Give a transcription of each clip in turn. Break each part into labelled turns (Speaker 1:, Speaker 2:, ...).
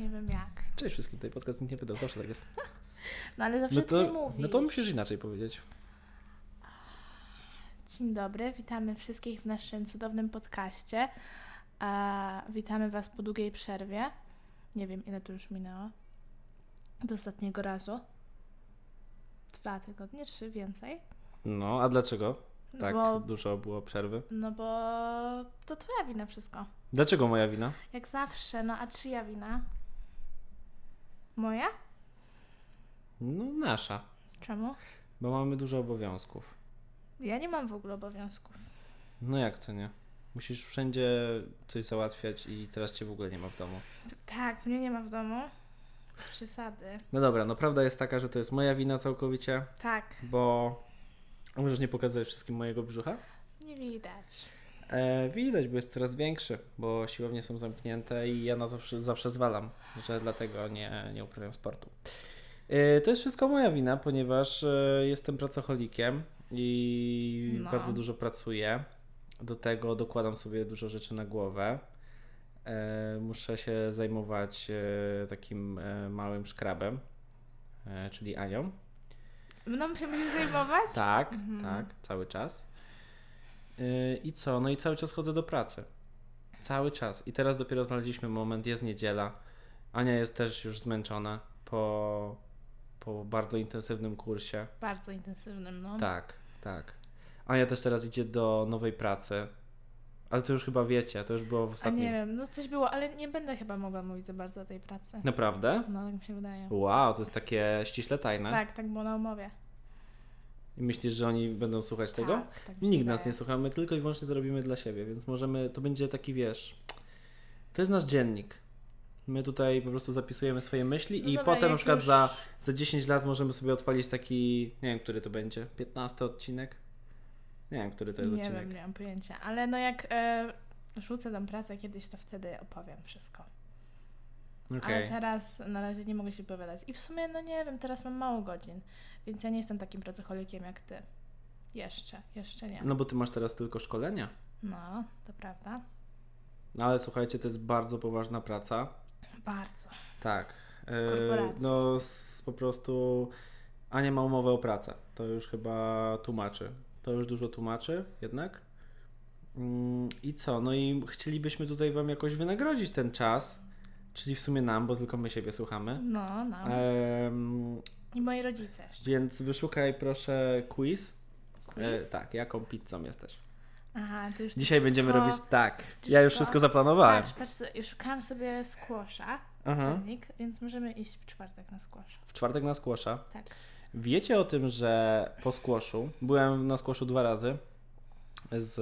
Speaker 1: Nie wiem jak.
Speaker 2: Cześć wszystkim, tutaj podcast nikt nie pytał, zawsze tak jest.
Speaker 1: No ale zawsze
Speaker 2: No
Speaker 1: ty
Speaker 2: to,
Speaker 1: mówisz.
Speaker 2: no to musisz inaczej powiedzieć.
Speaker 1: Dzień dobry, witamy wszystkich w naszym cudownym podcaście. A, witamy Was po długiej przerwie. Nie wiem, ile to już minęło. Do ostatniego razu. Dwa tygodnie, trzy więcej.
Speaker 2: No, a dlaczego?
Speaker 1: No
Speaker 2: Tak,
Speaker 1: bo,
Speaker 2: dużo było przerwy.
Speaker 1: no bo to Twoja wina wszystko.
Speaker 2: Dlaczego moja wina?
Speaker 1: Jak zawsze, no a czyja wina? Moja?
Speaker 2: No, nasza,
Speaker 1: Czemu?
Speaker 2: bo mamy dużo obowiązków.
Speaker 1: Ja nie mam w ogóle obowiązków.
Speaker 2: No jak to nie? Musisz wszędzie coś załatwiać i teraz cię w ogóle nie ma w domu.
Speaker 1: Tak, mnie nie ma w domu. Z przesady.
Speaker 2: No dobra, no prawda jest taka, że to jest moja wina całkowicie,
Speaker 1: Tak,
Speaker 2: bo... A Możesz nie pokazać wszystkim mojego brzucha?
Speaker 1: nie widać.
Speaker 2: E, widać, bo jest coraz większy, bo siłownie są zamknięte i ja na to wszy- zawsze zwalam, że dlatego nie, nie uprawiam sportu. E, to jest wszystko moja wina, ponieważ e, jestem pracocholikiem i
Speaker 1: No.
Speaker 2: bardzo dużo pracuję. Do tego dokładam sobie dużo rzeczy na głowę. E, muszę się zajmować e, takim e, małym szkrabem, e, czyli Anią.
Speaker 1: Mną się musisz zajmować?
Speaker 2: Tak,
Speaker 1: Mhm.
Speaker 2: tak, cały czas. Yy, I co? No i cały czas chodzę do pracy. Cały czas. I teraz dopiero znaleźliśmy moment, jest niedziela. Ania jest też już zmęczona po, po bardzo intensywnym kursie.
Speaker 1: Bardzo intensywnym, no.
Speaker 2: Tak, tak. Ania też teraz idzie do nowej pracy. Ale to już chyba wiecie, to już było w
Speaker 1: A nie
Speaker 2: ostatnim.
Speaker 1: wiem, no coś było, ale nie będę chyba mogła mówić za bardzo o tej pracy.
Speaker 2: Naprawdę?
Speaker 1: No, tak mi się wydaje.
Speaker 2: Wow, to jest takie ściśle tajne.
Speaker 1: Tak, tak było na umowie.
Speaker 2: I myślisz, że oni będą słuchać tego?
Speaker 1: Tak, tak mi się
Speaker 2: Nikt nas
Speaker 1: wydaje.
Speaker 2: nie słuchamy, tylko i wyłącznie to robimy dla siebie, więc możemy, to będzie taki, wiesz, to jest nasz dziennik. My tutaj po prostu zapisujemy swoje myśli
Speaker 1: No
Speaker 2: i
Speaker 1: dobra,
Speaker 2: potem na
Speaker 1: jak
Speaker 2: przykład
Speaker 1: już-
Speaker 2: za, za 10 lat możemy sobie odpalić taki, nie wiem, który to będzie, 15 odcinek? Nie wiem, który to jest
Speaker 1: Nie
Speaker 2: odcinek.
Speaker 1: wiem, nie mam pojęcia, ale no jak e, rzucę tam pracę kiedyś, to wtedy opowiem wszystko. Ale
Speaker 2: Okej.
Speaker 1: teraz na razie nie mogę się wypowiadać. I w sumie, no nie wiem, teraz mam mało godzin, więc ja nie jestem takim pracocholikiem jak ty. Jeszcze, jeszcze nie.
Speaker 2: No bo ty masz teraz tylko szkolenia.
Speaker 1: No, to prawda.
Speaker 2: No ale słuchajcie, to jest bardzo poważna praca.
Speaker 1: Bardzo.
Speaker 2: Tak. E,
Speaker 1: Korporacja.
Speaker 2: No s- po prostu Ania ma umowę o pracę. To już chyba tłumaczy. To już dużo tłumaczy jednak. Mm, I co? No i chcielibyśmy tutaj wam jakoś wynagrodzić ten czas. Czyli w sumie nam, bo tylko my siebie słuchamy.
Speaker 1: No, no.
Speaker 2: Em,
Speaker 1: I moi rodzice jeszcze.
Speaker 2: więc wyszukaj proszę quiz. E,
Speaker 1: Quiz?
Speaker 2: tak, jaką pizzą jesteś.
Speaker 1: Aha, to już to
Speaker 2: Dzisiaj będziemy
Speaker 1: wszystko-
Speaker 2: robić tak. Ja już
Speaker 1: wszystko-
Speaker 2: wszystko zaplanowałem.
Speaker 1: Patrz, patrz, sobie, szukałam sobie squasha,
Speaker 2: Aha.
Speaker 1: cennik, więc możemy iść w czwartek na squasha.
Speaker 2: W czwartek nas kłosza.
Speaker 1: Tak.
Speaker 2: Wiecie o tym, że po skłoszu, byłem na skłoszu dwa razy z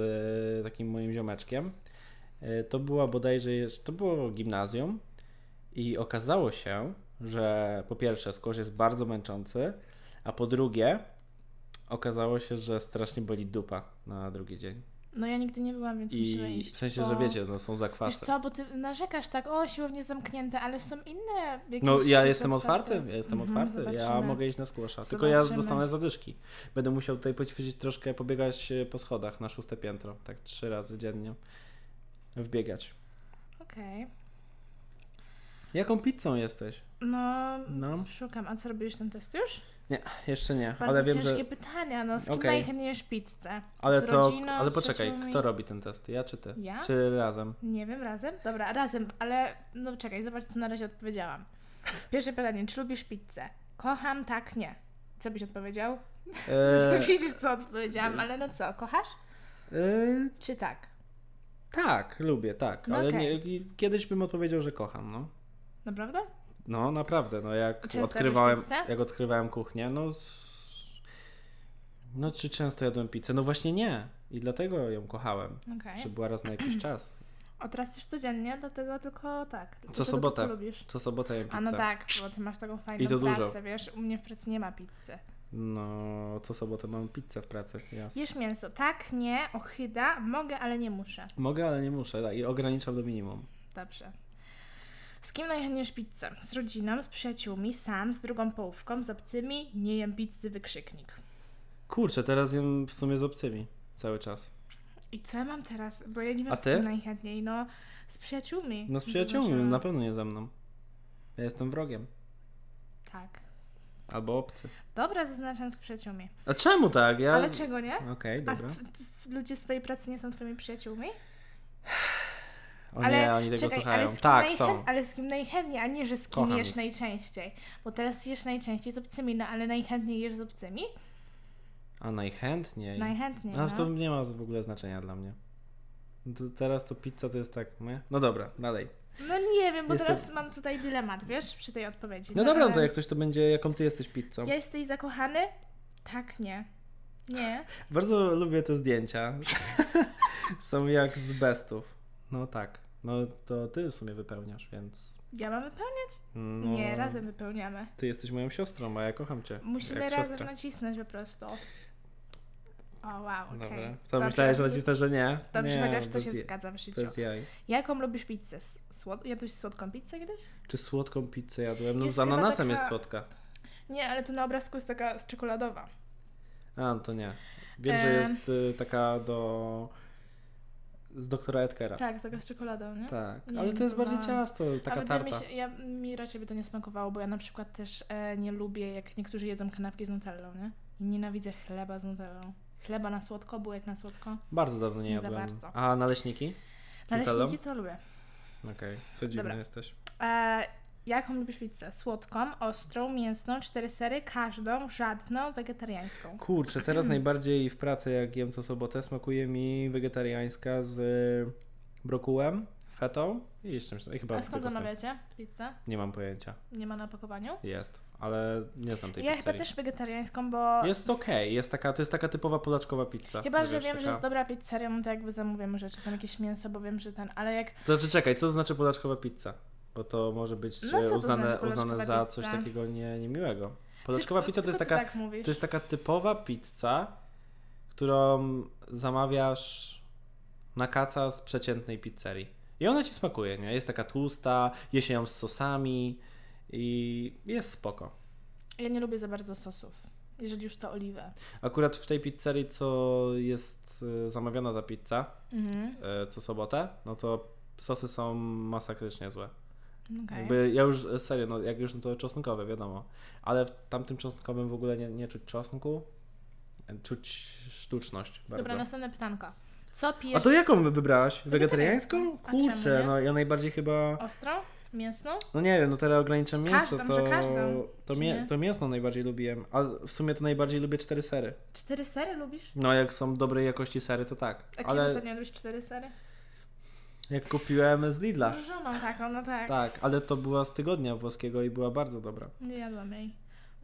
Speaker 2: e, takim moim ziomeczkiem. E, To była bodajże, jeszcze- to było gimnazjum i okazało się, że po pierwsze skłosz jest bardzo męczący, a po drugie okazało się, że strasznie boli dupa na drugi dzień.
Speaker 1: No ja nigdy nie byłam, więc musimy
Speaker 2: I
Speaker 1: iść.
Speaker 2: w sensie,
Speaker 1: bo...
Speaker 2: że wiecie, no są
Speaker 1: Wiesz
Speaker 2: zakwasy.
Speaker 1: co, bo ty narzekasz tak, o siłownie zamknięte, ale są inne jakieś
Speaker 2: No ja
Speaker 1: rzeczy
Speaker 2: jestem
Speaker 1: otwarte.
Speaker 2: otwarty, ja jestem
Speaker 1: Mhm,
Speaker 2: otwarty, ja
Speaker 1: zobaczymy.
Speaker 2: mogę iść na skłosza, tylko ja
Speaker 1: Zobaczymy.
Speaker 2: dostanę zadyszki. Będę musiał tutaj poćwiczyć troszkę, pobiegać e, po schodach na szóste piętro, tak trzy razy dziennie wbiegać.
Speaker 1: Okej.
Speaker 2: Jaką pizzą jesteś?
Speaker 1: No,
Speaker 2: No.
Speaker 1: szukam. A co, robiłeś ten test już?
Speaker 2: Nie, jeszcze nie,
Speaker 1: Bardzo
Speaker 2: ale wiem,
Speaker 1: ciężkie
Speaker 2: że...
Speaker 1: pytania, no z kim
Speaker 2: Okej.
Speaker 1: najchętniej jesz pizzę?
Speaker 2: Ale
Speaker 1: z
Speaker 2: to,
Speaker 1: rodziną,
Speaker 2: ale
Speaker 1: z
Speaker 2: poczekaj,
Speaker 1: przyjaciółmi?
Speaker 2: kto robi ten test, ja czy ty?
Speaker 1: Ja?
Speaker 2: Czy razem?
Speaker 1: Nie wiem, razem? Dobra, razem, ale no czekaj, zobacz co na razie odpowiedziałam. Pierwsze pytanie, czy lubisz pizzę? Kocham, tak, nie. Co byś odpowiedział?
Speaker 2: E,
Speaker 1: Widzisz co odpowiedziałam, ale no co, kochasz?
Speaker 2: e,
Speaker 1: Czy tak?
Speaker 2: tak, lubię, tak,
Speaker 1: No
Speaker 2: ale
Speaker 1: okej.
Speaker 2: nie, i kiedyś bym odpowiedział, że kocham, no.
Speaker 1: Naprawdę?
Speaker 2: No naprawdę, no jak
Speaker 1: Często
Speaker 2: odkrywałem,
Speaker 1: jadłeś pizzę?
Speaker 2: jak odkrywałem kuchnię, no s- no czy często jadłem pizzę? No właśnie nie. I dlatego ją kochałem,
Speaker 1: Okej.
Speaker 2: że była raz na jakiś czas.
Speaker 1: A teraz już codziennie, dlatego tylko tak. Dlatego tylko
Speaker 2: sobotę.
Speaker 1: lubisz.
Speaker 2: Co sobotę jem pizzę.
Speaker 1: A no tak, bo ty masz taką fajną
Speaker 2: I to dużo.
Speaker 1: pracę, wiesz, u mnie w pracy nie ma pizzy.
Speaker 2: No, co sobotę mam pizzę w pracy. Jasne.
Speaker 1: Jesz mięso, tak, nie, ochyda, mogę, ale nie muszę.
Speaker 2: Mogę, ale nie muszę. Tak, I ograniczam do minimum.
Speaker 1: Dobrze. Z kim najchętniej pizzę? Z rodziną, z przyjaciółmi, sam, z drugą połówką, z obcymi, nie jem pizzy, wykrzyknik.
Speaker 2: Kurczę, teraz jem w sumie z obcymi cały czas.
Speaker 1: I co ja mam teraz? Bo ja nie wiem
Speaker 2: A
Speaker 1: z
Speaker 2: ty?
Speaker 1: kim najchętniej, no z przyjaciółmi.
Speaker 2: No z przyjaciółmi,
Speaker 1: Zobaczyłam.
Speaker 2: na pewno nie ze mną. Ja jestem wrogiem.
Speaker 1: Tak.
Speaker 2: Albo obcy.
Speaker 1: Dobra, zaznaczam z przyjaciółmi.
Speaker 2: A czemu tak? Ja...
Speaker 1: Ale czego nie?
Speaker 2: Okej,
Speaker 1: A
Speaker 2: dobra.
Speaker 1: t- t- ludzie z twojej pracy nie są twoimi przyjaciółmi?
Speaker 2: O nie, oni tego
Speaker 1: czekaj,
Speaker 2: słuchają.
Speaker 1: Ale z, kim
Speaker 2: tak,
Speaker 1: najchę-
Speaker 2: są.
Speaker 1: ale z kim najchętniej, a nie, że z kim
Speaker 2: Kocham
Speaker 1: jesz
Speaker 2: ich.
Speaker 1: najczęściej. Bo teraz jesz najczęściej z obcymi, no ale najchętniej jesz z obcymi?
Speaker 2: A najchętniej.
Speaker 1: Najchętniej,
Speaker 2: A
Speaker 1: no.
Speaker 2: to nie ma w ogóle znaczenia dla mnie. No To teraz to pizza to jest tak. nie? No dobra, dalej.
Speaker 1: No nie wiem, bo
Speaker 2: Jestem-
Speaker 1: teraz mam tutaj dylemat, wiesz, przy tej odpowiedzi.
Speaker 2: No dobra, no to
Speaker 1: ale
Speaker 2: jak no. coś to będzie, jaką ty jesteś pizzą.
Speaker 1: Ja jesteś zakochany? Tak, nie. Nie.
Speaker 2: Bardzo lubię te zdjęcia. są jak z bestów. No tak. No to ty w sumie wypełniasz, więc.
Speaker 1: Ja mam wypełniać?
Speaker 2: No,
Speaker 1: Nie, razem wypełniamy.
Speaker 2: Ty jesteś moją siostrą, a ja kocham cię.
Speaker 1: Musimy
Speaker 2: jak
Speaker 1: razem
Speaker 2: siostrę.
Speaker 1: nacisnąć po prostu. O, wow, okej.
Speaker 2: Dobra. Co myślałeś, że nacisnę, że nie?
Speaker 1: Dobrze,
Speaker 2: nie,
Speaker 1: chociaż to
Speaker 2: bez
Speaker 1: się
Speaker 2: je-
Speaker 1: zgadza w życiu.
Speaker 2: Bez jaj.
Speaker 1: Jaką lubisz pizzę? S- Słod... Jadłeś słodką pizzę kiedyś?
Speaker 2: Czy słodką pizzę jadłem? No
Speaker 1: Jest
Speaker 2: z
Speaker 1: chyba
Speaker 2: ananasem
Speaker 1: taka-
Speaker 2: jest słodka.
Speaker 1: Nie, ale tu na obrazku jest taka z czekoladowa.
Speaker 2: A, no to nie. Wiem, że
Speaker 1: Em.
Speaker 2: jest y, taka do... z doktora Edgera.
Speaker 1: Tak, taka z czekoladą, nie?
Speaker 2: Tak,
Speaker 1: Nie,
Speaker 2: ale
Speaker 1: nie
Speaker 2: to jest bardziej
Speaker 1: próbowałam.
Speaker 2: ciasto, taka
Speaker 1: Ale
Speaker 2: tarta.
Speaker 1: Mi, się, ja, mi raczej by to nie smakowało, bo ja na przykład też e, nie lubię, jak niektórzy jedzą kanapki z nutellą, nie? I nienawidzę chleba z nutellą. Chleba na słodko, bułek na słodko.
Speaker 2: Bardzo dawno nie
Speaker 1: Nie za
Speaker 2: jadłem.
Speaker 1: bardzo.
Speaker 2: A naleśniki? Z nutellą?
Speaker 1: Naleśniki to lubię.
Speaker 2: Okej, to dziwny
Speaker 1: Dobra.
Speaker 2: jesteś.
Speaker 1: E, jaką lubisz pizzę? Słodką, ostrą, mięsną, cztery sery, każdą, żadną, wegetariańską.
Speaker 2: Kurczę, teraz najbardziej w pracy, jak jem co sobotę, smakuje mi wegetariańska z y, brokułem, fetą i z czymś. I chyba
Speaker 1: A
Speaker 2: tylko
Speaker 1: skąd
Speaker 2: z tym.
Speaker 1: zamawiacie pizzę?
Speaker 2: Nie mam pojęcia.
Speaker 1: Nie ma na opakowaniu?
Speaker 2: Jest, ale nie znam tej
Speaker 1: Ja chyba
Speaker 2: pizzerii.
Speaker 1: też wegetariańską, bo
Speaker 2: Jest okej, jest taka, to jest taka typowa polaczkowa pizza.
Speaker 1: chyba,
Speaker 2: No
Speaker 1: że
Speaker 2: wiesz,
Speaker 1: wiem,
Speaker 2: taka...
Speaker 1: że jest dobra pizzeria, no to jakby zamówię może czasem jakieś mięso, bo wiem, że ten, ale jak
Speaker 2: To znaczy, czekaj, co to znaczy polaczkowa pizza? Bo to może być
Speaker 1: No, co
Speaker 2: e,
Speaker 1: to
Speaker 2: uznane,
Speaker 1: znaczy
Speaker 2: uznane
Speaker 1: polaczkowa pizza?
Speaker 2: za coś takiego nie, niemiłego. Polaczkowa
Speaker 1: Ty-
Speaker 2: pizza to jest,
Speaker 1: tylko
Speaker 2: taka,
Speaker 1: ty tak mówisz.
Speaker 2: to jest taka typowa pizza, którą zamawiasz na kaca z przeciętnej pizzerii. I ona ci smakuje, nie? Jest taka tłusta, je się ją z sosami i jest spoko.
Speaker 1: Ja nie lubię za bardzo sosów. Jeżeli już to oliwę.
Speaker 2: Akurat w tej pizzerii, co jest e, zamawiana ta pizza
Speaker 1: Mhm.
Speaker 2: e, co sobotę, no to sosy są masakrycznie złe.
Speaker 1: okej.
Speaker 2: Jakby ja już e, serio, no jak już no to czosnkowe, wiadomo. Ale w tamtym czosnkowym w ogóle nie, nie czuć czosnku. E, Czuć sztuczność bardzo.
Speaker 1: Dobra, następne pytanko. Co
Speaker 2: A
Speaker 1: pijesz?
Speaker 2: to jaką wybrałaś?
Speaker 1: Wegetariańską.
Speaker 2: Wegetariańską?
Speaker 1: A czemu
Speaker 2: Kurczę,
Speaker 1: nie?
Speaker 2: no ja najbardziej chyba.
Speaker 1: Ostrą? Mięsną?
Speaker 2: No nie wiem, no teraz ograniczam mięso,
Speaker 1: Każdą, że
Speaker 2: to,
Speaker 1: każdą,
Speaker 2: to,
Speaker 1: czy
Speaker 2: mie-
Speaker 1: nie?
Speaker 2: to mięsno najbardziej lubiłem. A w sumie to najbardziej lubię cztery sery.
Speaker 1: Cztery sery lubisz?
Speaker 2: No jak są dobrej jakości sery, to tak.
Speaker 1: A kiedy
Speaker 2: Ale
Speaker 1: ostatnio lubisz cztery sery?
Speaker 2: jak kupiłem z Lidla.
Speaker 1: Różoną taką, no tak.
Speaker 2: Tak, ale to była z tygodnia włoskiego i była bardzo dobra.
Speaker 1: Nie jadłam jej.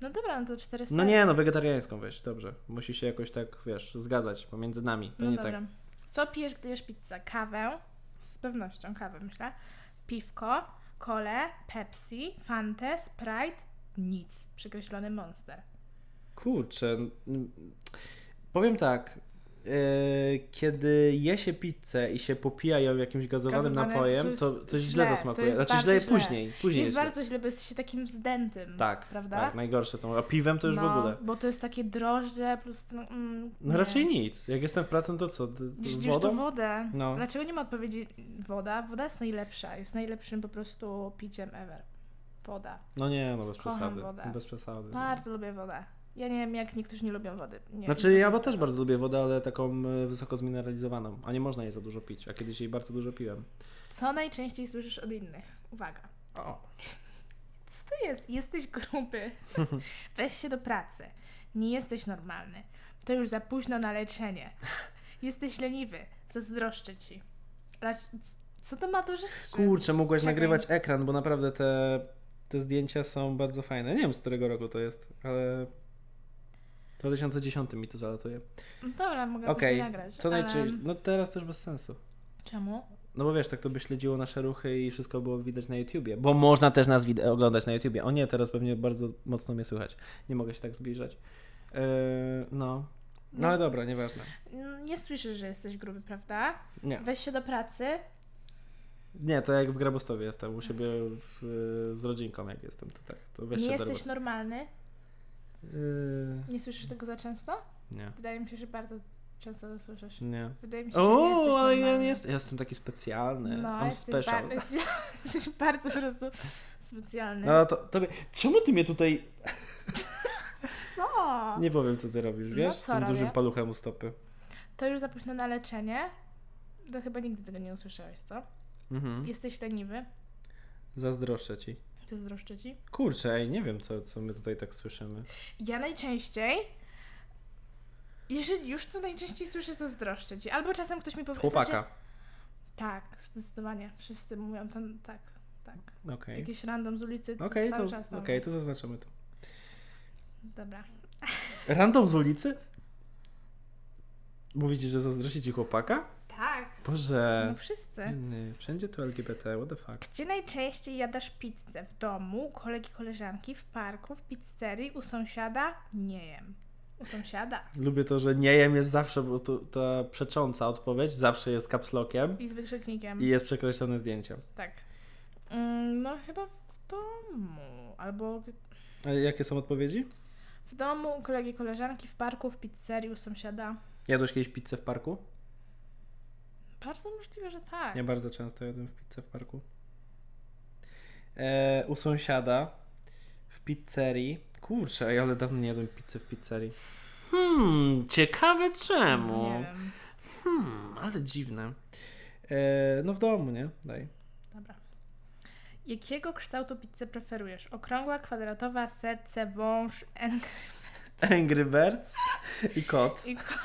Speaker 1: No dobra, no to cztery sery.
Speaker 2: No nie, no wegetariańską weź, dobrze. Musi się jakoś tak, wiesz, zgadzać pomiędzy nami. To
Speaker 1: No
Speaker 2: nie
Speaker 1: dobra.
Speaker 2: tak.
Speaker 1: Co pijesz, gdy jesz pizzę? Kawę? Z pewnością kawę, myślę. Piwko, kole, Pepsi, Fantę, Sprite, nic. Przekreślony Monster.
Speaker 2: Kurczę. mm, Powiem tak. e, Kiedy je się pizzę i się popija ją jakimś gazowanym
Speaker 1: Gazowane,
Speaker 2: napojem,
Speaker 1: to
Speaker 2: to,
Speaker 1: jest
Speaker 2: to, źle,
Speaker 1: źle,
Speaker 2: to
Speaker 1: to
Speaker 2: smakuje.
Speaker 1: jest
Speaker 2: znaczy
Speaker 1: bardzo
Speaker 2: źle
Speaker 1: źle.
Speaker 2: później. później
Speaker 1: jest
Speaker 2: źle.
Speaker 1: bardzo źle, bo jest się takim zdętym.
Speaker 2: Tak,
Speaker 1: prawda?
Speaker 2: tak, najgorsze co A piwem to już
Speaker 1: no,
Speaker 2: w ogóle.
Speaker 1: Bo to jest takie drożdże plus. No, mm,
Speaker 2: No
Speaker 1: nie.
Speaker 2: raczej nic. Jak jestem w pracy, no to co? d- d-
Speaker 1: Przecież to
Speaker 2: Wodą?
Speaker 1: wodę.
Speaker 2: No.
Speaker 1: Dlaczego nie ma odpowiedzi woda? Woda jest najlepsza. Jest najlepszym po prostu piciem ever. Woda.
Speaker 2: No nie, no bez
Speaker 1: Kocham
Speaker 2: przesady.
Speaker 1: wodę.
Speaker 2: Bez przesady. no.
Speaker 1: Bardzo lubię wodę. Ja nie wiem, jak niektórzy nie lubią wody. Nie,
Speaker 2: Znaczy ja bo też bardzo lubię wodę, ale taką e, wysoko zmineralizowaną, a nie można jej za dużo pić, a kiedyś jej bardzo dużo piłem.
Speaker 1: Co najczęściej słyszysz od innych? Uwaga.
Speaker 2: O.
Speaker 1: Co to jest? Jesteś gruby. Weź się do pracy. Nie jesteś normalny. To już za późno na leczenie. Jesteś leniwy. Zazdroszczę ci. Dlac- Co to ma do rzeczy?
Speaker 2: Kurczę, mogłaś
Speaker 1: Czekaj.
Speaker 2: nagrywać ekran, bo naprawdę te, te zdjęcia są bardzo fajne. Nie wiem, z którego roku to jest, ale w 2010 mi to zalatuje.
Speaker 1: Dobra, mogę okay.
Speaker 2: Okej,
Speaker 1: nagrać.
Speaker 2: co
Speaker 1: ale-
Speaker 2: najczęściej... No teraz to już bez sensu.
Speaker 1: Czemu?
Speaker 2: No bo wiesz, tak to by śledziło nasze ruchy i wszystko było widać na YouTubie, bo można też nas wid- oglądać na YouTubie. O nie, teraz pewnie bardzo mocno mnie słychać. Nie mogę się tak zbliżać. Yy, no. No
Speaker 1: No.
Speaker 2: ale dobra, nieważne.
Speaker 1: Mm, Nie słyszysz, że jesteś gruby, prawda?
Speaker 2: Nie.
Speaker 1: Weź się do pracy.
Speaker 2: Nie, to jak w Grabostowie jestem, u siebie w, y, z rodzinką jak jestem, to tak, to weź
Speaker 1: nie
Speaker 2: się do
Speaker 1: jesteś
Speaker 2: roboty.
Speaker 1: normalny.
Speaker 2: Yy,
Speaker 1: Nie słyszysz tego za często?
Speaker 2: Nie,
Speaker 1: Wydaje mi się, że bardzo często to słyszysz.
Speaker 2: nie.
Speaker 1: Wydaje mi się, że nie jesteś
Speaker 2: O, ale ja
Speaker 1: normalny.
Speaker 2: nie jestem, ja jestem taki specjalny,
Speaker 1: No,
Speaker 2: I'm
Speaker 1: jesteś,
Speaker 2: special.
Speaker 1: Bar- jesteś, jesteś bardzo po prostu specjalny.
Speaker 2: No to, tobie... Czemu ty mnie tutaj...
Speaker 1: Co?
Speaker 2: Nie powiem, co ty robisz,
Speaker 1: No
Speaker 2: wiesz?
Speaker 1: co
Speaker 2: Z tym
Speaker 1: robię?
Speaker 2: dużym paluchem u stopy.
Speaker 1: To już za późno na leczenie. To chyba nigdy tego nie usłyszałeś, co?
Speaker 2: Mhm.
Speaker 1: Jesteś leniwy.
Speaker 2: Zazdroszczę ci.
Speaker 1: Zazdroszczę ci.
Speaker 2: Kurczę, ej, nie wiem, co, co my tutaj tak słyszymy.
Speaker 1: Ja najczęściej, jeżeli już to najczęściej słyszę zazdroszczę ci, albo czasem ktoś mi powie...
Speaker 2: Chłopaka.
Speaker 1: Znaczy, tak, zdecydowanie. Wszyscy mówią to tak, tak.
Speaker 2: Okej.
Speaker 1: Jakiś random z ulicy
Speaker 2: Okej,
Speaker 1: cały
Speaker 2: to,
Speaker 1: czas tam.
Speaker 2: okej, to zaznaczamy to.
Speaker 1: Dobra.
Speaker 2: Random z ulicy? Mówicie, że zazdrosi ci chłopaka?
Speaker 1: Tak, no
Speaker 2: Boże.
Speaker 1: wszyscy.
Speaker 2: Nie, wszędzie to LGBT, what the fuck.
Speaker 1: Gdzie najczęściej jadasz pizzę? W domu, u kolegi, koleżanki, w parku, w pizzerii, u sąsiada? Nie jem. U sąsiada.
Speaker 2: Lubię to, że nie jem jest zawsze, bo to, ta przecząca odpowiedź zawsze jest kapslokiem
Speaker 1: I z wykrzyknikiem.
Speaker 2: i jest przekreślone zdjęcie.
Speaker 1: Tak. Mm, no chyba w domu. Albo
Speaker 2: A jakie są odpowiedzi?
Speaker 1: w domu, u kolegi, koleżanki, w parku, w pizzerii, u sąsiada.
Speaker 2: Jadłeś kiedyś pizzę w parku?
Speaker 1: Bardzo możliwe, że tak.
Speaker 2: Ja bardzo często jadłem w pizzę w parku. E, u sąsiada w pizzerii. Kurczę, ej, ale dawno nie jadłem pizzy w pizzerii. Hmm, ciekawe czemu.
Speaker 1: Nie wiem.
Speaker 2: Hmm, ale dziwne. E, no w domu, nie? Daj.
Speaker 1: Dobra. Jakiego kształtu pizzę preferujesz? Okrągła, kwadratowa, serce, wąż, en...
Speaker 2: Angry Birds i kot.
Speaker 1: I ko-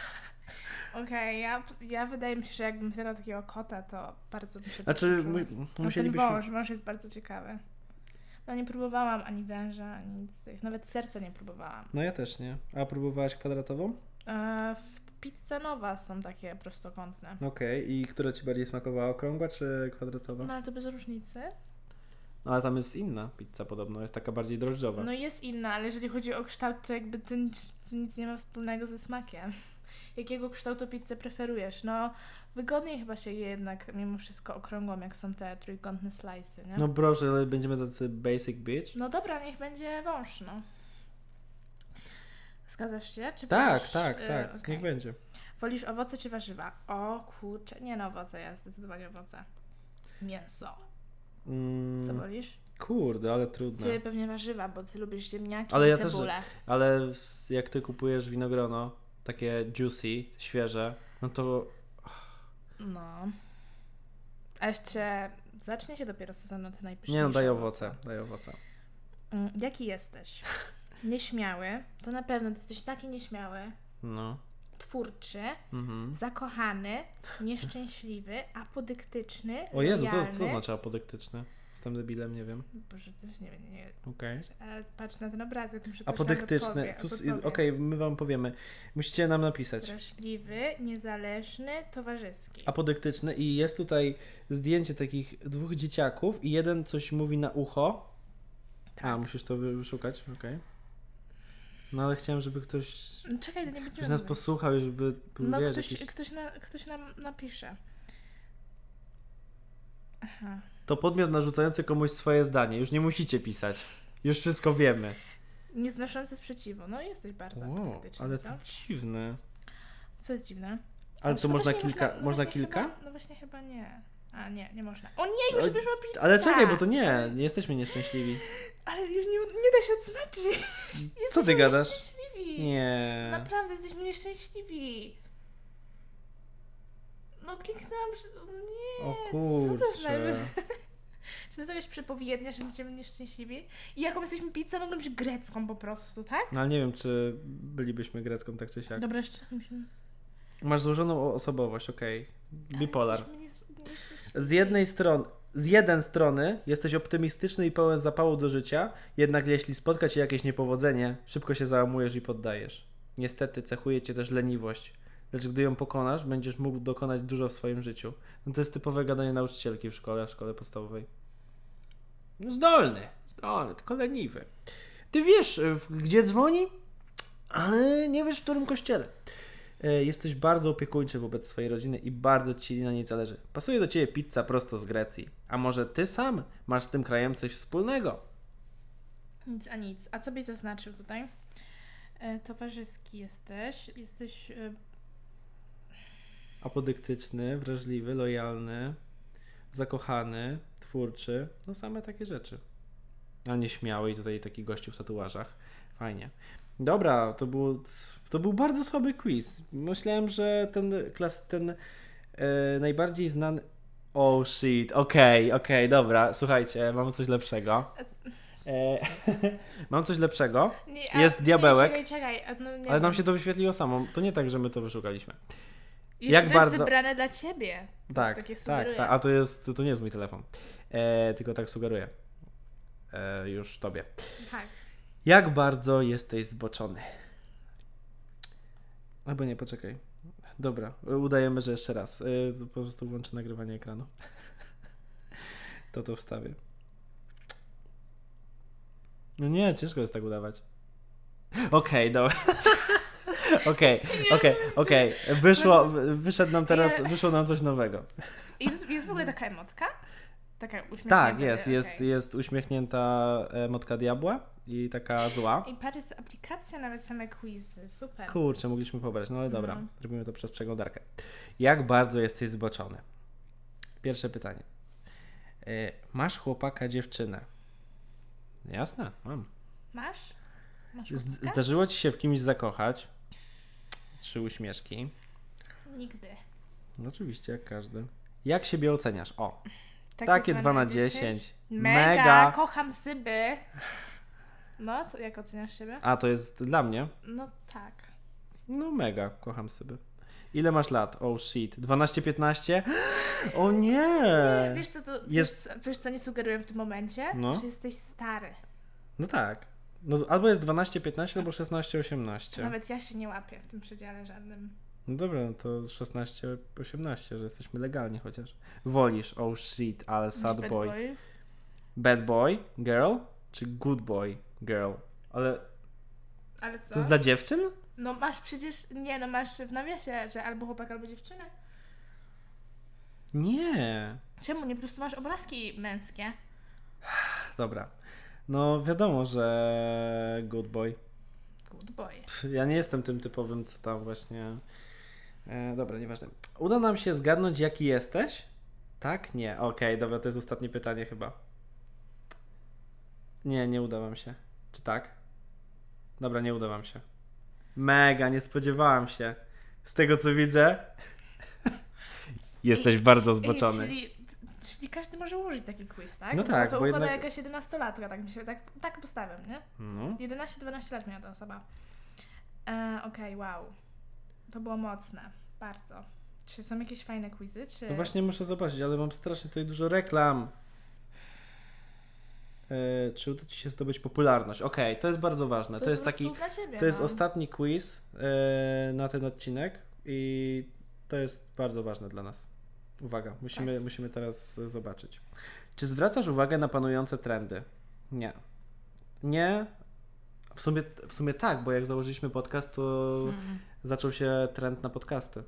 Speaker 1: Okej, ja, ja wydaje mi się, że jakbym zjadła takiego kota, to bardzo by się
Speaker 2: Znaczy,
Speaker 1: poczuła.
Speaker 2: mu,
Speaker 1: no, ten
Speaker 2: musielibyśmy...
Speaker 1: wąż, wąż jest bardzo ciekawy. No nie próbowałam ani węża, ani nic z tych. Nawet serca nie próbowałam.
Speaker 2: No ja też nie. A próbowałaś kwadratową?
Speaker 1: E, w pizza nowa są takie prostokątne.
Speaker 2: Okej. I która ci bardziej smakowała? Okrągła czy kwadratowa?
Speaker 1: No ale to bez różnicy.
Speaker 2: No ale tam jest inna pizza podobno. Jest taka bardziej drożdżowa.
Speaker 1: No jest inna, ale jeżeli chodzi o kształt, to jakby to nic, nic nie ma wspólnego ze smakiem. Jakiego kształtu pizzę preferujesz? No wygodniej chyba się je jednak mimo wszystko okrągłą, jak są te trójkątne slice'y, nie?
Speaker 2: No proszę, ale będziemy tacy basic bitch.
Speaker 1: No dobra, niech będzie wąż, no. Zgadzasz się? Czy
Speaker 2: Tak,
Speaker 1: wolisz,
Speaker 2: tak,
Speaker 1: y,
Speaker 2: tak.
Speaker 1: okej.
Speaker 2: Niech będzie.
Speaker 1: Wolisz owoce czy warzywa? O kurczę, nie no owoce, ja zdecydowanie owoce. Mięso. Co
Speaker 2: Mm,
Speaker 1: wolisz?
Speaker 2: kurde, ale trudne.
Speaker 1: Ty pewnie warzywa, bo ty lubisz ziemniaki
Speaker 2: Ale
Speaker 1: i
Speaker 2: ja też-
Speaker 1: cebulę.
Speaker 2: Ale w- jak ty kupujesz winogrono, takie juicy, świeże, no to
Speaker 1: No. A jeszcze zacznie się dopiero sezon na te najpyszniejsze
Speaker 2: nie no, daj owoce, daj owoce.
Speaker 1: Mm, Jaki jesteś? Nieśmiały. To na pewno, ty jesteś taki nieśmiały.
Speaker 2: No.
Speaker 1: Twórczy,
Speaker 2: Mhm.
Speaker 1: zakochany, nieszczęśliwy, apodyktyczny,
Speaker 2: O Jezu, co, co
Speaker 1: lojalny.
Speaker 2: znaczy apodyktyczny? Jestem debilem, nie wiem.
Speaker 1: Boże, też nie wiem, nie wiem.
Speaker 2: Okej.
Speaker 1: Ale patrz na ten obrazek, muszę coś nam
Speaker 2: Apodyktyczny.
Speaker 1: odpowie-
Speaker 2: Tu s-
Speaker 1: odpowiem.
Speaker 2: Okej, my wam powiemy. Musicie nam napisać.
Speaker 1: Straszliwy, niezależny, towarzyski.
Speaker 2: Apodyktyczny i jest tutaj zdjęcie takich dwóch dzieciaków i jeden coś mówi na ucho. A, musisz to wy- wyszukać, okej. No ale chciałem, żeby ktoś
Speaker 1: No Czekaj, to nie będziemy
Speaker 2: Ktoś nas
Speaker 1: mówić.
Speaker 2: posłuchał, już by
Speaker 1: No
Speaker 2: wiesz,
Speaker 1: ktoś,
Speaker 2: jakiś...
Speaker 1: ktoś, na, ktoś nam napisze. Aha.
Speaker 2: To podmiot narzucający komuś swoje zdanie. Już nie musicie pisać. Już wszystko wiemy.
Speaker 1: Nieznoszący sprzeciwu. No jesteś bardzo apodyktyczny,
Speaker 2: ale
Speaker 1: co?
Speaker 2: to dziwne.
Speaker 1: Co jest dziwne?
Speaker 2: Ale
Speaker 1: No,
Speaker 2: to
Speaker 1: no
Speaker 2: można
Speaker 1: właśnie
Speaker 2: kilka.
Speaker 1: no
Speaker 2: Można
Speaker 1: właśnie
Speaker 2: kilka?
Speaker 1: Chyba, no właśnie chyba nie. A nie, nie można. O nie, już
Speaker 2: Ale-
Speaker 1: wyszła pizza!
Speaker 2: Ale czekaj, bo to nie, nie jesteśmy nieszczęśliwi.
Speaker 1: Ale już nie, nie da się odznaczyć.
Speaker 2: Co ty
Speaker 1: Jesteśmy
Speaker 2: gadasz?
Speaker 1: nieszczęśliwi.
Speaker 2: Nie.
Speaker 1: Naprawdę, jesteśmy nieszczęśliwi. No kliknęłam, że... o Nie,
Speaker 2: O
Speaker 1: co to
Speaker 2: kurczę.
Speaker 1: znaczy? Czy to jest jakaś przepowiednia, że będziemy nieszczęśliwi? I jaką jesteśmy pizzą, mogą być grecką po prostu, tak?
Speaker 2: No ale nie wiem, czy bylibyśmy grecką tak czy siak.
Speaker 1: Dobra, jeszcze raz musimy...
Speaker 2: Masz złożoną o- osobowość, okej.
Speaker 1: Ale
Speaker 2: Bipolar.
Speaker 1: jesteśmy nies- nieszczęśliwi.
Speaker 2: Z jednej strony, z jeden strony jesteś optymistyczny i pełen zapału do życia, jednak jeśli spotka cię jakieś niepowodzenie, szybko się załamujesz i poddajesz. Niestety cechuje cię też leniwość. Lecz gdy ją pokonasz, będziesz mógł dokonać dużo w swoim życiu. No to jest typowe gadanie nauczycielki w szkole, w szkole podstawowej. No zdolny, zdolny, tylko leniwy. Ty wiesz, y, w- gdzie dzwoni, ale nie wiesz, w którym kościele. E, Jesteś bardzo opiekuńczy wobec swojej rodziny i bardzo ci na niej zależy. Pasuje do ciebie pizza prosto z Grecji. A może ty sam masz z tym krajem coś wspólnego?
Speaker 1: Nic a nic. A co byś zaznaczył tutaj? E, towarzyski jesteś. Jesteś... E,
Speaker 2: Apodyktyczny, wrażliwy, lojalny, zakochany, twórczy. No same takie rzeczy. No nieśmiały i tutaj taki gościu w tatuażach. Fajnie. Dobra, to, było, to był bardzo słaby quiz. Myślałem, że ten klas, ten e, najbardziej znany... Oh shit, okej, okej, dobra, słuchajcie, mam coś lepszego. E, mam coś lepszego.
Speaker 1: Nie,
Speaker 2: Jest diabełek.
Speaker 1: Nie, czekaj, czekaj. a No, nie
Speaker 2: Ale nam
Speaker 1: wiem.
Speaker 2: się to wyświetliło samo. To nie tak, że my to wyszukaliśmy.
Speaker 1: Już
Speaker 2: jak
Speaker 1: to
Speaker 2: bardzo-
Speaker 1: jest wybrane dla ciebie. To jest
Speaker 2: Tak,
Speaker 1: takie
Speaker 2: tak,
Speaker 1: sugeruje.
Speaker 2: tak. A to jest, to nie jest mój telefon. E, tylko tak sugeruję. E, już tobie.
Speaker 1: tak.
Speaker 2: Jak bardzo jesteś zboczony? Albo nie, poczekaj. Dobra, udajemy, że jeszcze raz. E, to po prostu włączę nagrywanie ekranu. To to wstawię. No nie, ciężko jest tak udawać. Okej, dobra. Okej, okej, okej. Wyszło, wyszedł nam teraz, wyszło nam coś nowego.
Speaker 1: I Jest, jest w ogóle taka emotka? Taka uśmiechnięta.
Speaker 2: Tak, jest, jest,
Speaker 1: okej.
Speaker 2: jest uśmiechnięta e, motka diabła i taka zła.
Speaker 1: I patrz, jest aplikacja, nawet same quizy. Super.
Speaker 2: Kurczę, mogliśmy pobrać, no ale dobra,
Speaker 1: No.
Speaker 2: robimy to przez przeglądarkę. Jak bardzo jesteś zboczony? Pierwsze pytanie. E, Masz chłopaka, dziewczynę? Jasne, mam.
Speaker 1: Masz? Masz
Speaker 2: Z-
Speaker 1: łapkę?
Speaker 2: Zdarzyło ci się w kimś zakochać? Trzy uśmieszki.
Speaker 1: Nigdy.
Speaker 2: No oczywiście, jak każdy. Jak siebie oceniasz? O,
Speaker 1: Takie,
Speaker 2: takie 2 na 10.
Speaker 1: Mega, kocham syby. No, to jak oceniasz siebie?
Speaker 2: A to jest dla mnie?
Speaker 1: No tak.
Speaker 2: No mega, kocham sobie. Ile masz lat? Oh shit. 12-15? O nie!
Speaker 1: Nie, wiesz co, to,
Speaker 2: E, Jest-
Speaker 1: jest... wiesz co nie sugeruję w tym momencie?
Speaker 2: No.
Speaker 1: Że jesteś stary.
Speaker 2: No tak. No, albo jest 12-15, albo 16-18.
Speaker 1: Nawet ja się nie łapię w tym przedziale żadnym.
Speaker 2: No dobra, no to 16-18, że jesteśmy legalni chociaż. Wolisz, oh shit, ale sad
Speaker 1: Bad
Speaker 2: boy.
Speaker 1: boy.
Speaker 2: Bad boy, girl? Czy good boy, girl? Ale
Speaker 1: Ale co?
Speaker 2: to jest dla dziewczyn?
Speaker 1: No masz przecież, nie no masz w nawiasie, że albo chłopak, albo dziewczyna.
Speaker 2: Nie.
Speaker 1: Czemu? Nie po prostu masz obrazki męskie.
Speaker 2: Dobra. No wiadomo, że good boy.
Speaker 1: Good boy.
Speaker 2: Pff, Ja nie jestem tym typowym, co tam właśnie. E, dobra, nieważne. Uda nam się zgadnąć, jaki jesteś? Tak? Nie. Okej, dobra, to jest ostatnie pytanie chyba. Nie, nie uda wam się. Czy tak? Dobra, nie uda wam się. Mega, nie spodziewałam się. Z tego co widzę. Jesteś bardzo zboczony.
Speaker 1: Ej, czyli, czyli każdy może użyć taki quiz, tak?
Speaker 2: No tak,
Speaker 1: To
Speaker 2: bo
Speaker 1: układa
Speaker 2: jednak-
Speaker 1: jakaś 11-latka, tak mi się, tak, tak postawiam, nie?
Speaker 2: No.
Speaker 1: 11-12 lat miała ta osoba. E, Okej, wow. To było mocne. Bardzo. Czy są jakieś fajne quizy, czy...
Speaker 2: No właśnie muszę zobaczyć, ale mam strasznie tutaj dużo reklam. E, czy uda Ci się zdobyć popularność? Okej, to jest bardzo ważne. To, jest
Speaker 1: po
Speaker 2: taki,
Speaker 1: prostu Dla ciebie,
Speaker 2: to jest
Speaker 1: no.
Speaker 2: ostatni quiz e, na ten odcinek i to jest bardzo ważne dla nas. Uwaga, musimy, musimy teraz e, zobaczyć. Czy zwracasz uwagę na panujące trendy? Nie. Nie. W sumie, w sumie tak, bo jak założyliśmy podcast, to
Speaker 1: Mm.
Speaker 2: zaczął się trend na podcasty.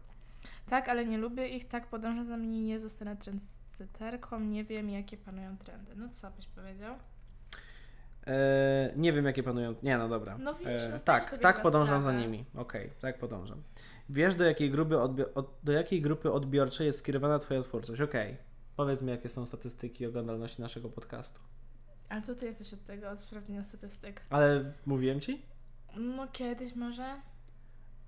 Speaker 1: Tak, ale nie lubię ich, tak podążę za nimi, nie zostanę trendseterką, nie wiem jakie panują trendy. No co byś powiedział?
Speaker 2: E, nie wiem, jakie panują. Nie, no dobra.
Speaker 1: No wiesz, no zdajesz
Speaker 2: tak,
Speaker 1: sobie
Speaker 2: tak
Speaker 1: chyba
Speaker 2: podążam za
Speaker 1: sprawę.
Speaker 2: nimi. Okej, tak podążam. Wiesz, do jakiej grupy, odbi- od, do jakiej grupy odbiorczej jest skierowana Twoja twórczość? Okej. Powiedz mi, jakie są statystyki oglądalności naszego podcastu.
Speaker 1: Ale co ty jesteś od tego, od sprawdzenia statystyk?
Speaker 2: Ale mówiłem ci?
Speaker 1: No kiedyś może?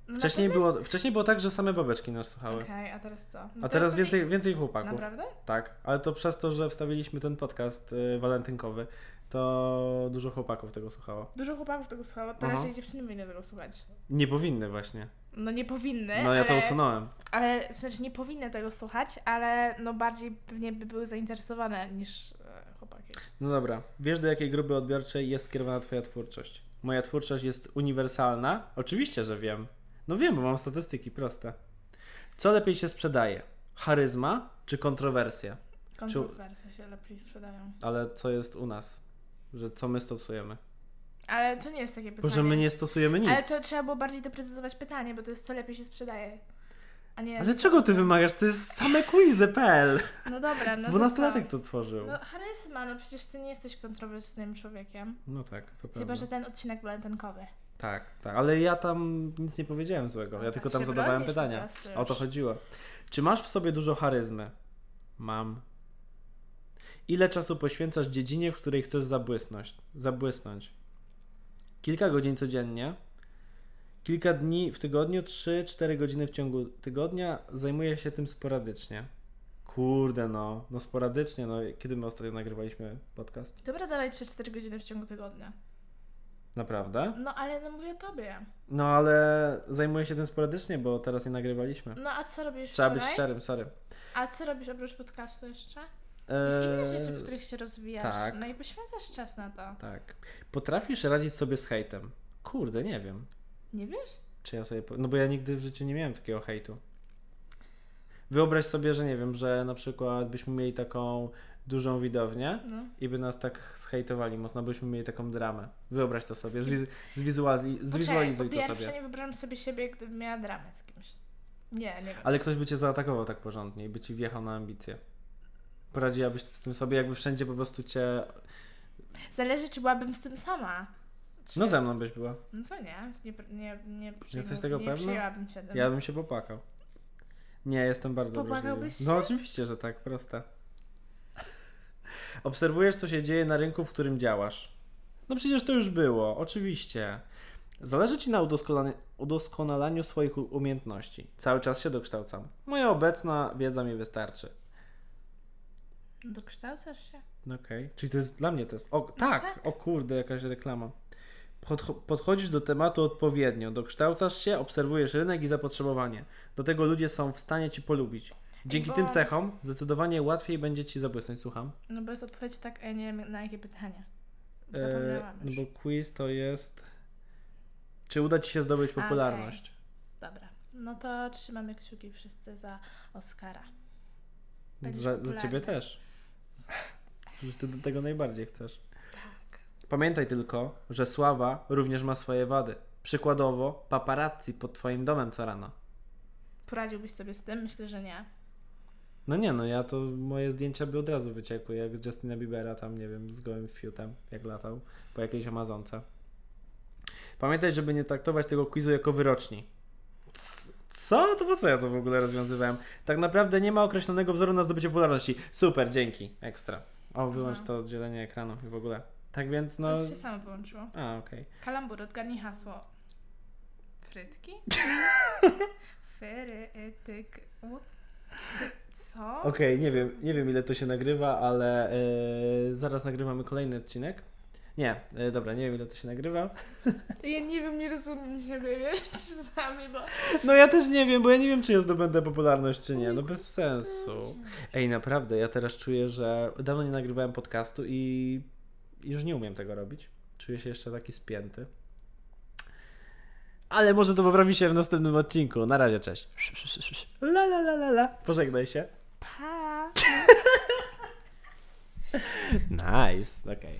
Speaker 1: No, na
Speaker 2: Wcześniej,
Speaker 1: pewno
Speaker 2: było, wcześniej było tak, że same babeczki nas słuchały.
Speaker 1: Okej, a teraz co? No
Speaker 2: A teraz
Speaker 1: to
Speaker 2: więcej, więcej chłopaków.
Speaker 1: Naprawdę?
Speaker 2: Tak, ale to przez to, że wstawiliśmy ten podcast y, walentynkowy, to dużo chłopaków tego słuchało.
Speaker 1: Dużo chłopaków tego słuchało, to
Speaker 2: Aha.
Speaker 1: raczej dziewczyny powinny tego słuchać.
Speaker 2: Nie powinny właśnie.
Speaker 1: No nie powinny,
Speaker 2: No ja to
Speaker 1: ale,
Speaker 2: usunąłem.
Speaker 1: ale w sensie nie powinny tego słuchać, ale no bardziej pewnie by były zainteresowane niż e, chłopaki.
Speaker 2: No dobra, wiesz do jakiej grupy odbiorczej jest skierowana Twoja twórczość? Moja twórczość jest uniwersalna? Oczywiście, że wiem. No wiem, bo mam statystyki proste. Co lepiej się sprzedaje? Charyzma czy kontrowersja?
Speaker 1: Kontrowersje się lepiej sprzedają.
Speaker 2: Ale co jest u nas? Że co my stosujemy?
Speaker 1: Ale to nie jest takie pytanie.
Speaker 2: Bo że my nie stosujemy nic.
Speaker 1: Ale
Speaker 2: Ale,
Speaker 1: to trzeba było bardziej doprecyzować pytanie, bo to jest co lepiej się sprzedaje. A nie.
Speaker 2: czego ty wymagasz? To jest same quizy.pl.
Speaker 1: No dobra, no. to
Speaker 2: Dwunastolatek
Speaker 1: co?
Speaker 2: to tworzył.
Speaker 1: No charyzma, no przecież ty nie jesteś kontrowersyjnym człowiekiem.
Speaker 2: No tak, to prawda.
Speaker 1: Chyba, że ten odcinek walentynkowy.
Speaker 2: Tak, tak, ale ja tam nic nie powiedziałem złego. Ja
Speaker 1: Tak,
Speaker 2: tylko tam
Speaker 1: się
Speaker 2: zadawałem
Speaker 1: bronisz po
Speaker 2: pytania.
Speaker 1: prostu.
Speaker 2: O to chodziło. Czy masz w sobie dużo charyzmy? Mam. Ile czasu poświęcasz dziedzinie, w której chcesz zabłysnąć? zabłysnąć? Kilka godzin codziennie, kilka dni w tygodniu, 3-4 godziny w ciągu tygodnia. Zajmuję się tym sporadycznie. Kurde no, no sporadycznie, no kiedy my ostatnio nagrywaliśmy podcast?
Speaker 1: Dobra, dawaj 3-4 godziny w ciągu tygodnia.
Speaker 2: Naprawdę?
Speaker 1: No ale no mówię tobie.
Speaker 2: No ale zajmuję się tym sporadycznie, bo teraz nie nagrywaliśmy.
Speaker 1: No a co robisz
Speaker 2: Trzeba być
Speaker 1: wczoraj?
Speaker 2: szczerym, sorry.
Speaker 1: A co robisz oprócz podcastu jeszcze? Jakieś inne
Speaker 2: Eee,
Speaker 1: rzeczy, w których się rozwijasz.
Speaker 2: tak.
Speaker 1: No i poświęcasz czas na to.
Speaker 2: Tak. Potrafisz radzić sobie z hejtem? Kurde, nie wiem.
Speaker 1: Nie wiesz?
Speaker 2: Czy ja sobie. po- No bo ja nigdy w życiu nie miałem takiego hejtu. Wyobraź sobie, że nie wiem, że na przykład byśmy mieli taką dużą widownię
Speaker 1: No.
Speaker 2: i by nas tak zhejtowali mocno, byśmy mieli taką dramę. Wyobraź to sobie,
Speaker 1: Z kim?
Speaker 2: zwiz- zwizuali- zwizualizuj
Speaker 1: Poczekaj, po
Speaker 2: to
Speaker 1: pierwsze
Speaker 2: sobie.
Speaker 1: nie wyobrażam sobie siebie, gdybym miała dramę z kimś. Nie, nie wiem.
Speaker 2: Ale ktoś by cię zaatakował tak porządnie i by ci wjechał na ambicje. Poradziłabyś z tym sobie, jakby wszędzie po prostu cię.
Speaker 1: Zależy, czy byłabym z tym sama. Czy...
Speaker 2: No ze mną byś była.
Speaker 1: No to nie, nie, nie, nie,
Speaker 2: Jesteś
Speaker 1: przyjmu-
Speaker 2: tego
Speaker 1: nie
Speaker 2: pewna?
Speaker 1: przyjęłabym się tym.
Speaker 2: Ja bym się popłakał. Nie, jestem bardzo
Speaker 1: Popłakałbyś się?
Speaker 2: wrażliwy. No oczywiście, że tak, proste. Obserwujesz, co się dzieje na rynku, w którym działasz. No przecież to już było, oczywiście. Zależy Ci na udoskonalaniu, udoskonalaniu swoich u- umiejętności. Cały czas się dokształcam. Moja obecna wiedza mi wystarczy.
Speaker 1: No Dokształcasz się?
Speaker 2: Okej, czyli to jest dla mnie test. O, tak,
Speaker 1: tak.
Speaker 2: o kurde, jakaś reklama. Podcho- podchodzisz do tematu odpowiednio, dokształcasz się, obserwujesz rynek i zapotrzebowanie. Do tego ludzie są w stanie ci polubić. Dzięki
Speaker 1: bo-
Speaker 2: tym cechom zdecydowanie łatwiej będzie ci zabłysnąć, słucham.
Speaker 1: No bo jest odpowiedź tak, e, nie wiem na jakie pytanie.
Speaker 2: E,
Speaker 1: Zapomniałam
Speaker 2: no
Speaker 1: już.
Speaker 2: bo quiz to jest. Czy uda ci się zdobyć
Speaker 1: okej.
Speaker 2: popularność?
Speaker 1: Dobra. No to trzymamy kciuki wszyscy za Oscara. Będziesz
Speaker 2: Za, za
Speaker 1: popularny.
Speaker 2: ciebie też. Że ty do tego najbardziej chcesz.
Speaker 1: Tak.
Speaker 2: Pamiętaj tylko, że sława również ma swoje wady. Przykładowo, paparazzi pod twoim domem co rano.
Speaker 1: Poradziłbyś sobie z tym? Myślę, że nie.
Speaker 2: No nie, no ja to moje zdjęcia by od razu wyciekły, jak Justina Biebera tam, nie wiem, z gołym fiutem, jak latał po jakiejś Amazonce. Pamiętaj, żeby nie traktować tego quizu jako wyroczni. C- Co? To po co ja to w ogóle rozwiązywałem? Tak naprawdę nie ma określonego wzoru na zdobycie popularności. Super, dzięki, ekstra. O, wyłącz
Speaker 1: Aha.
Speaker 2: to oddzielenie ekranu i w ogóle. Tak więc, no...
Speaker 1: No. To się samo wyłączyło.
Speaker 2: A, okej.
Speaker 1: Kalambur, odgadnij hasło. Frytki? Frytyk... u- Co?
Speaker 2: Okej, nie wiem, nie wiem ile to się nagrywa, ale e, zaraz nagrywamy kolejny odcinek. Nie, e, dobra, nie wiem ile to się nagrywa.
Speaker 1: Ja nie wiem, nie rozumiem siebie, wiesz, czasami, bo...
Speaker 2: No ja też nie wiem, bo ja nie wiem, czy ja zdobędę popularność, czy nie. No bez sensu. Ej, naprawdę, ja teraz czuję, że dawno nie nagrywałem podcastu i już nie umiem tego robić. Czuję się jeszcze taki spięty. Ale może to poprawi się w następnym odcinku. Na razie, cześć. La la la la la. Pożegnaj się.
Speaker 1: Pa!
Speaker 2: Nice, okej.